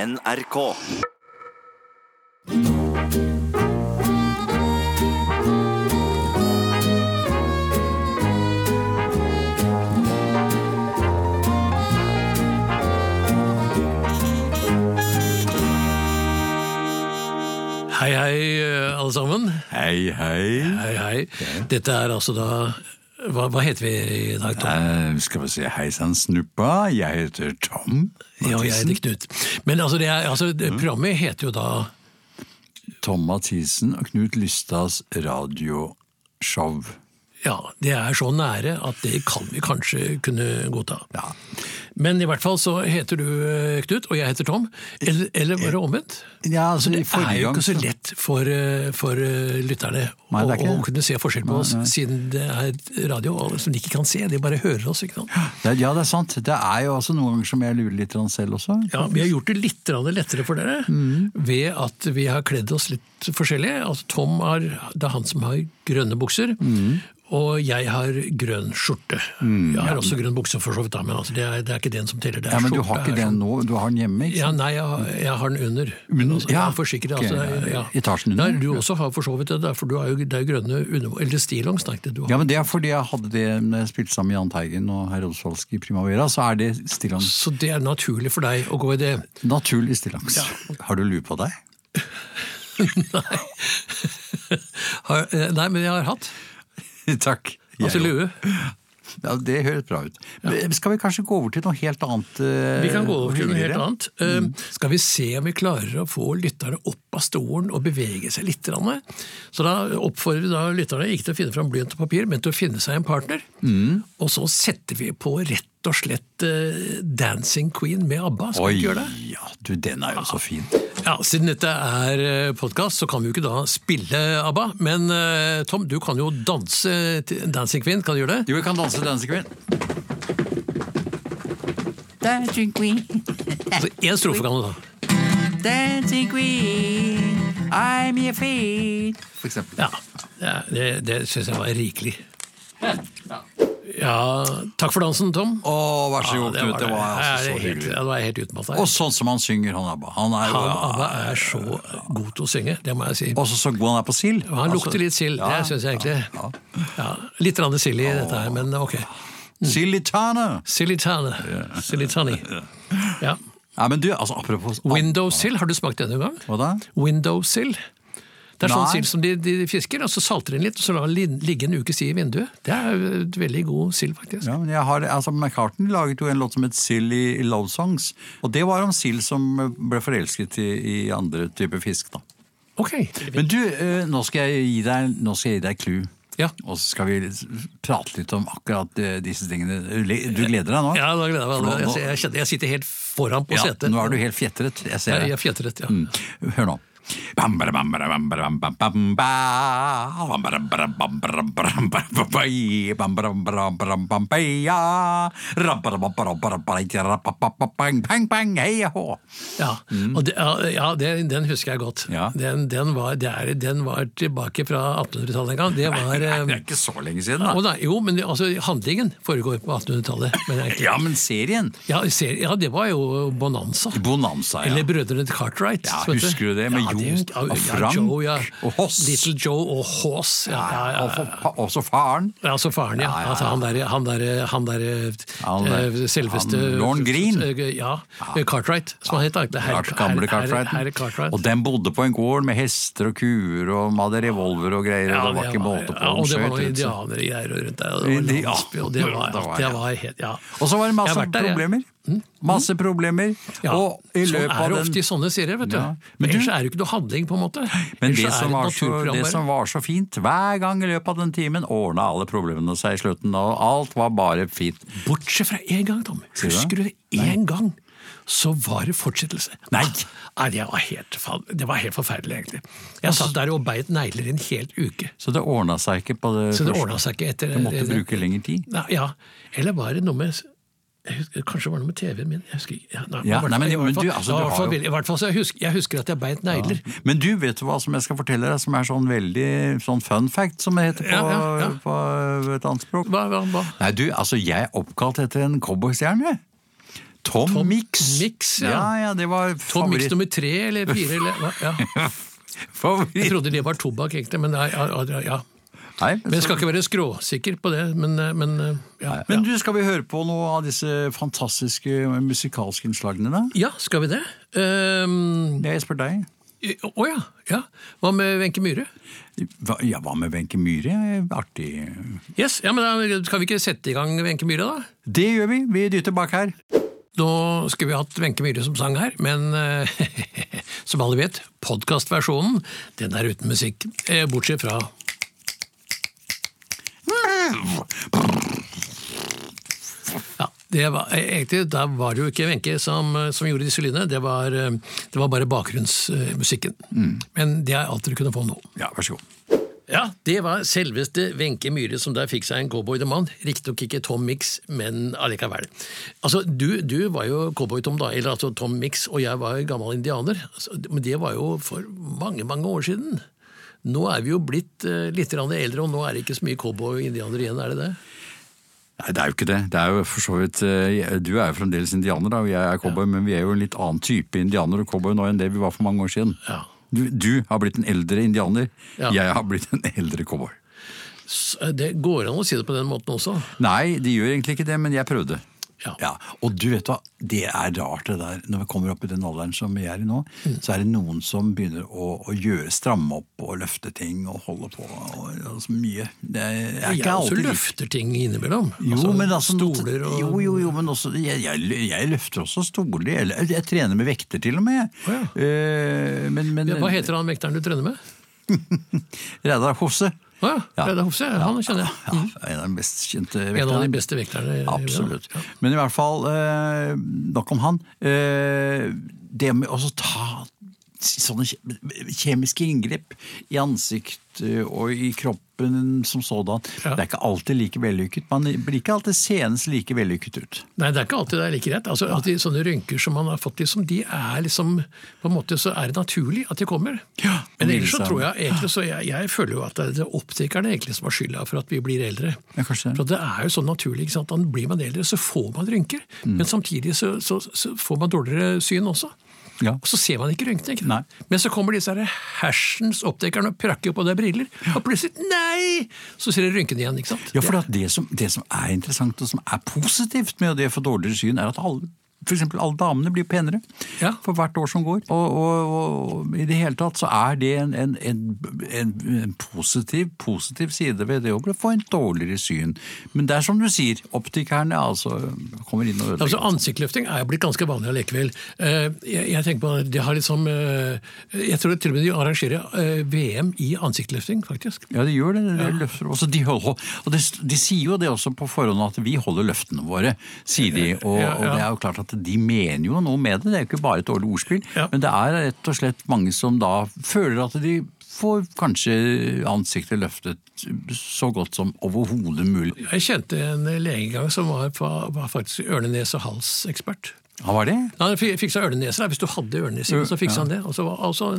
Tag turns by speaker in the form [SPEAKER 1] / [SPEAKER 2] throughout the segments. [SPEAKER 1] NRK.
[SPEAKER 2] Hei, hei, eh, alle sammen.
[SPEAKER 3] Hei, hei.
[SPEAKER 2] Hei, hei. Dette er altså da Hva, hva heter vi i dag, Tom?
[SPEAKER 3] Eh, skal vi se, hei sann, snuppa. Jeg heter Tom.
[SPEAKER 2] Ja, jeg heter Knut. Men altså, det er, altså
[SPEAKER 3] Mm.
[SPEAKER 2] det- programmet heter jo da
[SPEAKER 3] Tom Mathisen og Knut Lystads radioshow.
[SPEAKER 2] Ja, det er så nære at det kan vi kanskje kunne godta. Men i hvert fall så heter du eh, Knut, og jeg heter Tom. Eller, eller var det omvendt?
[SPEAKER 3] Ja,
[SPEAKER 2] Altså, det
[SPEAKER 3] forrige
[SPEAKER 2] er jo
[SPEAKER 3] gang
[SPEAKER 2] ikke så
[SPEAKER 3] så-
[SPEAKER 2] lett for, eh, for eh, lytterne
[SPEAKER 3] Nei,
[SPEAKER 2] å,
[SPEAKER 3] det er ikke
[SPEAKER 2] å
[SPEAKER 3] det.
[SPEAKER 2] kunne se forskjell på oss, siden det er radio og som de ikke kan se. De bare hører oss. ikke sant?
[SPEAKER 3] Det er- Ja, det er sant. Det er jo også noen ganger som jeg lurer litt grann selv også.
[SPEAKER 2] Ja, Vi har gjort det litt grann lettere for dere
[SPEAKER 3] Mm.
[SPEAKER 2] ved at vi har kledd oss litt forskjellig. Altså, Tom har, det er han som har grønne bukser,
[SPEAKER 3] Mm.
[SPEAKER 2] og jeg har grønn skjorte. jeg har også grønn bukse, for så vidt, da, men altså, det, er, det er ikke den som teller. Det er
[SPEAKER 3] Ja, Men du
[SPEAKER 2] skjorte
[SPEAKER 3] har ikke
[SPEAKER 2] er
[SPEAKER 3] den
[SPEAKER 2] sånn-
[SPEAKER 3] nå? Du har den hjemme? ikke
[SPEAKER 2] Ja,
[SPEAKER 3] sant?
[SPEAKER 2] Nei, jeg, har- jeg har den under.
[SPEAKER 3] Under?
[SPEAKER 2] altså, jeg
[SPEAKER 3] Ja,
[SPEAKER 2] er forsikret,
[SPEAKER 3] ok,
[SPEAKER 2] altså,
[SPEAKER 3] ja,
[SPEAKER 2] ja.
[SPEAKER 3] etasjen under.
[SPEAKER 2] Nei, du også har for så vidt det, der, for du har jo, det er jo grønne under... Eller stillongs, tenkte jeg du har.
[SPEAKER 3] Ja, men Det er fordi jeg hadde det når jeg spilte sammen med Jahn Teigen og herr Oddsvalsk i Primavera. Så er det stillongs.
[SPEAKER 2] Så det er naturlig for deg å gå i det.
[SPEAKER 3] Naturlig stillongs. Har du lue på deg?
[SPEAKER 2] Har, eh, nei, men jeg har hatt.
[SPEAKER 3] Takk.
[SPEAKER 2] Altså
[SPEAKER 3] Jeg-
[SPEAKER 2] lue.
[SPEAKER 3] Ja, Det høres bra ut. Men Skal vi kanskje gå over til noe helt annet? eh,
[SPEAKER 2] Vi kan gå over til noe helt
[SPEAKER 3] hyggeligere?
[SPEAKER 2] annet. Eh,
[SPEAKER 3] Mm.
[SPEAKER 2] Skal vi se om vi klarer å få lytterne opp av stolen og bevege seg litt? grann? Så da oppfordrer vi da lytterne ikke til å finne fram blyant og papir, men til å finne seg en partner.
[SPEAKER 3] Mm.
[SPEAKER 2] Og så setter vi på rett og slett eh, Dancing Queen med ABBA. Skal vi
[SPEAKER 3] Oi,
[SPEAKER 2] ikke gjøre det? Ah.
[SPEAKER 3] ja, du, den er jo så fin.
[SPEAKER 2] Ja, Siden dette er podkast, så kan vi jo ikke da spille ABBA. Men eh, Tom, du kan jo danse til Dancing Queen. Kan du gjøre det?
[SPEAKER 3] Jo, vi kan danse Dancing Queen.
[SPEAKER 4] Dancing Queen,
[SPEAKER 2] Altså, Én strofe kan du ta.
[SPEAKER 4] Dancing Queen, I'm your feet.
[SPEAKER 3] For eksempel.
[SPEAKER 2] Ja, det- Det, det syns jeg var rikelig. Ja, Takk for dansen, Tom.
[SPEAKER 3] Å, vær så
[SPEAKER 2] Ja,
[SPEAKER 3] god, Knut. Det var altså så
[SPEAKER 2] Ah, det er helt,
[SPEAKER 3] hyggelig.
[SPEAKER 2] ja, det var jeg helt utmattet.
[SPEAKER 3] Og sånn som han synger, han ABBA. Han er jo
[SPEAKER 2] Han Abba er så god til å synge, det må jeg si.
[SPEAKER 3] også så god han er på sild. Altså,
[SPEAKER 2] Og han lukter litt sild,
[SPEAKER 3] ja,
[SPEAKER 2] det syns jeg
[SPEAKER 3] ja,
[SPEAKER 2] egentlig. Ja, litt rande sild i dette her, men ok. Mm.
[SPEAKER 3] Sild i tane!
[SPEAKER 2] Silitane. Silitani. Ja.
[SPEAKER 3] Nei, men du, altså apropos
[SPEAKER 2] Windowsill, har du smakt det noen gang?
[SPEAKER 3] Hva da?
[SPEAKER 2] Windowsill. Det er sånn
[SPEAKER 3] Nei.
[SPEAKER 2] sild som de, de fisker, og så salter de den litt, og så lar den lin- ligge en ukes tid i vinduet. Det er jo et veldig god sild, faktisk.
[SPEAKER 3] Ja, men jeg har, altså McCartney laget jo en låt som het Sild i Love Songs. Og det var om sild som ble forelsket i, i andre typer fisk, da.
[SPEAKER 2] Ok.
[SPEAKER 3] Men du, eh, nå skal jeg gi deg, nå skal jeg gi deg clue.
[SPEAKER 2] Ja.
[SPEAKER 3] Og så skal vi prate litt om akkurat eh, disse tingene. Du gleder deg nå?
[SPEAKER 2] Ja, da gleder jeg meg.
[SPEAKER 3] For nå-
[SPEAKER 2] Jeg, jeg, kjenner- jeg sitter helt foran på
[SPEAKER 3] Ja,
[SPEAKER 2] setet.
[SPEAKER 3] nå er du Mm. helt fjetret. Jeg ser
[SPEAKER 2] Jeg,
[SPEAKER 3] det.
[SPEAKER 2] jeg fjetret, ja.
[SPEAKER 3] Hør nå. Bam, bada, bam, bada, bam, bada, bam, bam, bam, ba. Bam, bada, bada, bam, bada, bam, bada, bam, bai. Bam, bada, bada, bam, bam, bai, ja. Ra, bada, bam, bada, bada, bada, ja, ra, pa, pa, pa, bang, bang, bang, hei, ja, hå.
[SPEAKER 2] Ja, og det, ja, ja den, den husker jeg godt.
[SPEAKER 3] Mm. Ja.
[SPEAKER 2] Den, den, var, det er, den var tilbake fra 1800-tallet en gang. Det var...
[SPEAKER 3] Nei,
[SPEAKER 2] eh,
[SPEAKER 3] Det er ikke så lenge siden,
[SPEAKER 2] å
[SPEAKER 3] da.
[SPEAKER 2] nei, jo, men det- altså, handlingen foregår på 1800-tallet. men det er ikke-
[SPEAKER 3] Ja, men serien.
[SPEAKER 2] Ja, ser, ja, det var jo Bonanza.
[SPEAKER 3] Bonanza, ja.
[SPEAKER 2] Eller Brødrene Cartwright.
[SPEAKER 3] Ja,
[SPEAKER 2] vet
[SPEAKER 3] husker du det? Med Jo
[SPEAKER 2] husker- ja,
[SPEAKER 3] og
[SPEAKER 2] ja,
[SPEAKER 3] Frank
[SPEAKER 2] Joe, ja.
[SPEAKER 3] og Hoss.
[SPEAKER 2] Little Joe og Hoss. Ja, ja, ja.
[SPEAKER 3] Og for pa- Også faren.
[SPEAKER 2] Ja, altså faren, ja.
[SPEAKER 3] Ja, ja, ja.
[SPEAKER 2] Altså, han der, han der, han der
[SPEAKER 3] Han der-
[SPEAKER 2] eh, selveste
[SPEAKER 3] han Lorne Green.
[SPEAKER 2] Eh, Ja, Cartwright, som han het. da. Det er herr-
[SPEAKER 3] Lars gamle
[SPEAKER 2] herr-
[SPEAKER 3] Cartwright.
[SPEAKER 2] herr- herr Cartwright.
[SPEAKER 3] Og den bodde på en gård med hester og kuer, og de hadde revolver og greier. og det var ikke måte på
[SPEAKER 2] ja,
[SPEAKER 3] dem
[SPEAKER 2] og det var
[SPEAKER 3] skjøt
[SPEAKER 2] noen
[SPEAKER 3] ut,
[SPEAKER 2] indianere
[SPEAKER 3] så-
[SPEAKER 2] i der og rundt der. Og
[SPEAKER 3] Indi-
[SPEAKER 2] det
[SPEAKER 3] ja.
[SPEAKER 2] var landsby, og det var,
[SPEAKER 3] Det var-
[SPEAKER 2] det var helt Ja.
[SPEAKER 3] Og så var
[SPEAKER 2] Jeg
[SPEAKER 3] det masse
[SPEAKER 2] har vært der, jeg. Mm?
[SPEAKER 3] problemer. Masse problemer.
[SPEAKER 2] Ja,
[SPEAKER 3] Og i
[SPEAKER 2] sånn
[SPEAKER 3] løpet
[SPEAKER 2] er
[SPEAKER 3] av
[SPEAKER 2] det
[SPEAKER 3] den
[SPEAKER 2] ofte i sånne serier, vet du.
[SPEAKER 3] Ja. Men
[SPEAKER 2] Men ellers
[SPEAKER 3] du-
[SPEAKER 2] er det jo ikke noe handling, på en måte.
[SPEAKER 3] men
[SPEAKER 2] Ellers
[SPEAKER 3] det
[SPEAKER 2] er
[SPEAKER 3] som,
[SPEAKER 2] et
[SPEAKER 3] var så,
[SPEAKER 2] naturprogram
[SPEAKER 3] det
[SPEAKER 2] bare.
[SPEAKER 3] som var så fint, hver gang i løpet av den timen ordna alle problemene seg i slutten, og alt var bare fint.
[SPEAKER 2] Bortsett fra én gang, Tom.
[SPEAKER 3] Sier du det?
[SPEAKER 2] Husker du det? Én gang så var det fortsettelse.
[SPEAKER 3] Nei.
[SPEAKER 2] Nei, det var helt, faen- det var helt forferdelig, egentlig. Jeg satt der og beit negler i en hel uke.
[SPEAKER 3] Så det ordna seg ikke på det
[SPEAKER 2] Så det
[SPEAKER 3] første.
[SPEAKER 2] ordna seg ikke etter
[SPEAKER 3] Du måtte bruke lengre tid.
[SPEAKER 2] Nei, ja. Eller var det noe med jeg husker, Kanskje det var noe med TV-en min. Jeg husker ikke. Ja, nei,
[SPEAKER 3] Ja,
[SPEAKER 2] i hvert
[SPEAKER 3] nei, men-
[SPEAKER 2] fall- i hvert
[SPEAKER 3] men
[SPEAKER 2] fall-
[SPEAKER 3] du,
[SPEAKER 2] ja,
[SPEAKER 3] altså, du
[SPEAKER 2] i hvert
[SPEAKER 3] har
[SPEAKER 2] fall
[SPEAKER 3] jo-
[SPEAKER 2] veldig- I hvert fall så jeg husker jeg, husker at jeg beit negler.
[SPEAKER 3] Men du, vet du hva som jeg skal fortelle deg, som er sånn veldig sånn fun fact, som det heter på,
[SPEAKER 2] Ja, ja, ja.
[SPEAKER 3] på et annet språk?
[SPEAKER 2] Hva, hva, hva?
[SPEAKER 3] Nei, du, altså jeg er oppkalt etter en cowboystjerne. Tom,
[SPEAKER 2] Tom
[SPEAKER 3] Mix.
[SPEAKER 2] Mix, ja.
[SPEAKER 3] ja. ja, det var
[SPEAKER 2] Tom Mix
[SPEAKER 3] favoritt-
[SPEAKER 2] nummer tre eller fire eller hva? ja. Jeg
[SPEAKER 3] favoritt.
[SPEAKER 2] trodde det var tobakk, egentlig, men nei, ja, ja, ja.
[SPEAKER 3] Nei,
[SPEAKER 2] Men
[SPEAKER 3] men,
[SPEAKER 2] jeg skal ikke være skråsikker på det, men, eh, men eh, ja.
[SPEAKER 3] men du, skal vi høre på noe av disse fantastiske musikalske innslagene, da?
[SPEAKER 2] ja, skal vi det? Ehm,
[SPEAKER 3] Jeg spør deg.
[SPEAKER 2] Å ja, ja. Hva med Wenche Myhre?
[SPEAKER 3] Hva, ja, hva med Wenche Myhre? Artig.
[SPEAKER 2] Yes, ja, men da Kan vi ikke sette i gang Wenche Myhre, da?
[SPEAKER 3] Det gjør vi. Vi dytter bak her.
[SPEAKER 2] Nå skulle vi hatt Wenche Myhre som sang her, men eh, som alle vet, podkastversjonen den er uten musikk. Eh, Bortsett fra Ja, det var, eh, egentlig, Da var det jo ikke Wenche som, eh, som gjorde disse lydene, det var, eh, det var bare bakgrunnsmusikken. Men det er alt dere kunne få nå.
[SPEAKER 3] Ja, vær så god.
[SPEAKER 2] Ja, det var selveste Wenche Myhre som der fikk seg en cowboy-demand. Riktignok ikke Tom Mix, men allikevel. Altså, du, du var jo cowboy-Tom, da. Eller altså Tom Mix, og jeg var jo gammel indianer. Altså, Men det var jo for mange, mange år siden. Nå er vi jo blitt eh, litt grann eldre, og nå er det ikke så mye cowboy og indianer igjen, er det det?
[SPEAKER 3] Nei, det er jo ikke det. Det er jo for så vidt eh, Du er jo fremdeles indianer, da, og jeg er cowboy, men vi er jo en litt annen type indianer og cowboy nå enn det vi var for mange år siden.
[SPEAKER 2] Ja.
[SPEAKER 3] Du, du har blitt en eldre indianer.
[SPEAKER 2] Ja.
[SPEAKER 3] Jeg har blitt en eldre cowboy.
[SPEAKER 2] S- eh, Det går an å si det på den måten også.
[SPEAKER 3] Nei, de gjør egentlig ikke det, men jeg prøvde.
[SPEAKER 2] Ja.
[SPEAKER 3] Og du vet hva, det er rart det der. Når vi kommer opp i den alderen som vi er i nå,
[SPEAKER 2] Mm.
[SPEAKER 3] så er det noen som begynner å, å gjøre, stramme opp og løfte ting og holde på og, og så mye. Det er, jeg er
[SPEAKER 2] Jeg
[SPEAKER 3] ikke
[SPEAKER 2] også
[SPEAKER 3] alltid like-
[SPEAKER 2] løfter ting innimellom.
[SPEAKER 3] Jo,
[SPEAKER 2] Altså,
[SPEAKER 3] men altså,
[SPEAKER 2] stoler og
[SPEAKER 3] jo, jo, jo, men også, jeg, jeg, jeg løfter også stoler. Jeg, jeg trener med vekter til og med. jeg.
[SPEAKER 2] Å, ja.
[SPEAKER 3] Eh, men, men,
[SPEAKER 2] Ja, Hva heter han vekteren du trener med?
[SPEAKER 3] Reidar Hofse.
[SPEAKER 2] Å ja,
[SPEAKER 3] Ja.
[SPEAKER 2] Reidar Hofse. Han kjenner jeg.
[SPEAKER 3] Ja, en av de mest kjente
[SPEAKER 2] Mhm. En av
[SPEAKER 3] vekterne.
[SPEAKER 2] de beste vekterne. i-
[SPEAKER 3] Absolutt.
[SPEAKER 2] Ja.
[SPEAKER 3] Men i hvert fall, eh, nok om han. Eh, det med å så ta sånne kje- kjemiske inngrep i ansikt eh, og i kroppen som sådan,
[SPEAKER 2] Ja.
[SPEAKER 3] det er ikke alltid like vellykket. Man blir ikke alltid seende like vellykket ut.
[SPEAKER 2] Nei, det er ikke alltid det er like greit. Altså, at de, sånne rynker som man har fått, liksom, de er liksom På en måte så er det naturlig at de kommer.
[SPEAKER 3] Ja,
[SPEAKER 2] Men
[SPEAKER 3] det
[SPEAKER 2] ellers så
[SPEAKER 3] viser seg.
[SPEAKER 2] tror jeg egentlig så jeg, jeg føler jo at det er optikerne egentlig som har skylda for at vi blir eldre.
[SPEAKER 3] Ja, kanskje det.
[SPEAKER 2] For det er jo sånn naturlig. ikke sant? Da blir man eldre, så får man rynker.
[SPEAKER 3] Mm.
[SPEAKER 2] Men samtidig så, så, så får man dårligere syn også.
[SPEAKER 3] Ja.
[SPEAKER 2] Og så ser man ikke rynkene. ikke
[SPEAKER 3] Nei.
[SPEAKER 2] sant? Men så kommer disse her hersens optikerne og prakker på deg briller, og plutselig Nei! Så ser du rynkene igjen. ikke sant?
[SPEAKER 3] Ja, for det, at det, som, det som er interessant og som er positivt med det for dårligere syn, er at alle, for eksempel alle damene blir penere
[SPEAKER 2] Ja.
[SPEAKER 3] for hvert år som går. Og, og, og i det hele tatt så er det en, en, en, en, en positiv, positiv side ved det å få en dårligere syn. Men det er som du sier, optikerne altså kommer inn og
[SPEAKER 2] Altså,
[SPEAKER 3] ødelegger.
[SPEAKER 2] Ansiktsløfting er jo blitt ganske vanlig allikevel. Eh, Jeg, jeg tenker på, det, de har liksom eh, Jeg tror til og med de arrangerer eh, VM i ansiktsløfting, faktisk.
[SPEAKER 3] Ja, de gjør det. De løfter også. De, holder, og de, de sier jo det også på forhånd at vi holder løftene våre, sier de. Og,
[SPEAKER 2] Ja, ja.
[SPEAKER 3] og det er jo klart at de mener jo noe med det. Det er jo ikke bare et dårlig ordspill.
[SPEAKER 2] Ja.
[SPEAKER 3] Men det er rett og slett mange som da føler at de får kanskje ansiktet løftet så godt som overhodet mulig.
[SPEAKER 2] Jeg kjente en lege en gang som var, fa- var faktisk ørne-nese- og halsekspert.
[SPEAKER 3] Ja, var det?
[SPEAKER 2] Han fi- fiksa ørneneser. da. Hvis du hadde ørneneser, så fiksa han det. Og så var, altså,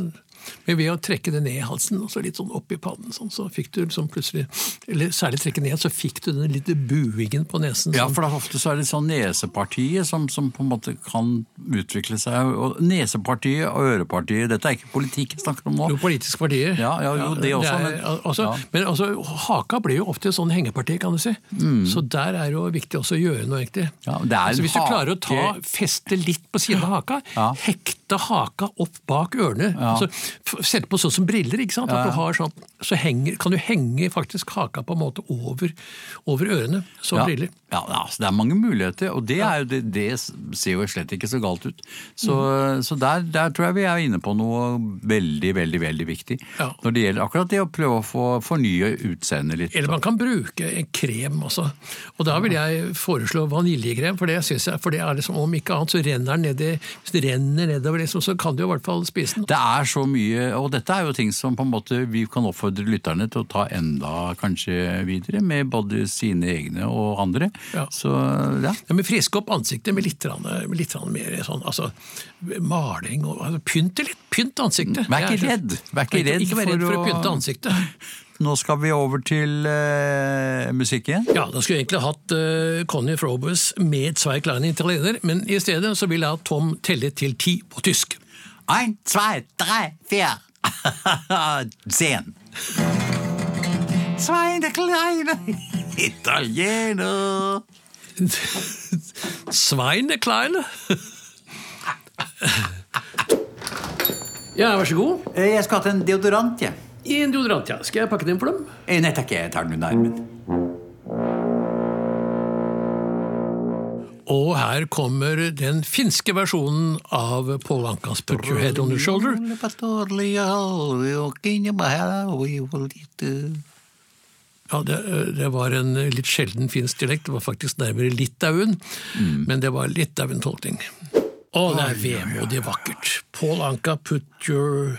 [SPEAKER 2] men ved å trekke det ned i halsen og så litt sånn opp i pannen, sånn, så fikk du liksom plutselig Eller særlig trekke ned, så fikk du den lille buingen på nesen.
[SPEAKER 3] Ja,
[SPEAKER 2] sånn.
[SPEAKER 3] for det er ofte så er det sånn nesepartiet som, som på en måte kan utvikle seg. Og nesepartiet og ørepartiet, dette er ikke politikk jeg snakker om nå.
[SPEAKER 2] Jo, politiske partier.
[SPEAKER 3] Ja, ja, jo, det også,
[SPEAKER 2] er-
[SPEAKER 3] men-
[SPEAKER 2] al- altså,
[SPEAKER 3] ja.
[SPEAKER 2] Men altså, haka blir jo ofte et sånn hengeparti, kan du si. Så der er det jo viktig også å gjøre noe, egentlig.
[SPEAKER 3] Mm. Ja, det er en
[SPEAKER 2] altså, hvis du
[SPEAKER 3] hake-
[SPEAKER 2] klarer å ta, feste litt på siden av haka,
[SPEAKER 3] Ja.
[SPEAKER 2] hekte haka opp bak ørene, altså, f- sette på sånn som briller, ikke sant? At du har sånn, så henger, kan du henge faktisk haka på en måte over, over ørene, som
[SPEAKER 3] ja.
[SPEAKER 2] briller.
[SPEAKER 3] Ja, ja, altså, det er mange muligheter, og det, er jo, det, det ser jo slett ikke så galt ut. Så, så der, der tror jeg vi er inne på noe veldig, veldig veldig viktig.
[SPEAKER 2] Ja.
[SPEAKER 3] Når det gjelder akkurat det å prøve å få fornye utseendet litt.
[SPEAKER 2] Eller man kan bruke en krem også. Og da vil jeg foreslå vaniljekrem, for det, synes jeg, for det er liksom, om ikke annet så renner den nedi, hvis det renner nedover, liksom, så kan du jo i hvert fall spise den.
[SPEAKER 3] Det er så mye, og dette er jo ting som på en måte vi kan oppfordre lytterne til å ta enda kanskje videre, med både sine egne og andre.
[SPEAKER 2] Ja.
[SPEAKER 3] Så ja.
[SPEAKER 2] Ja, men Friske opp ansiktet med litt, grann, med litt grann mer sånn, altså, maling og altså, Pynt det litt! Pynt ansiktet!
[SPEAKER 3] Vær ikke
[SPEAKER 2] Det er-
[SPEAKER 3] redd. Vær ikke redd
[SPEAKER 2] ikke vær redd for, å
[SPEAKER 3] for å-
[SPEAKER 2] pynte ansiktet.
[SPEAKER 3] Nå skal vi over til eh, musikk igjen.
[SPEAKER 2] Ja, da skulle jeg egentlig hatt eh, Conny Frobes med Zwei kleine italiener, men i stedet så vil jeg ha Tom telle til ti på tysk.
[SPEAKER 3] Ein, zwei, drei, vier. Zehn. Zwei kleine italiener.
[SPEAKER 2] Sveine Kleine. Ja, vær så god.
[SPEAKER 3] Eh, Jeg skulle hatt en deodorant, jeg.
[SPEAKER 2] I en deodorant, ja. Skal jeg pakke den for dem?
[SPEAKER 3] Eh, Nei takk, jeg tar den under armen.
[SPEAKER 2] Og her kommer den finske versjonen av Paul Ankas Put Your Head On Your Shoulder.
[SPEAKER 3] eh.
[SPEAKER 2] Ja, det, det var en litt sjelden finsk dialekt. Det var faktisk nærmere Litauen,
[SPEAKER 3] Mm.
[SPEAKER 2] men det var Litauen-tolkning. Å, det er vemodig vakkert. Paul Anka, put your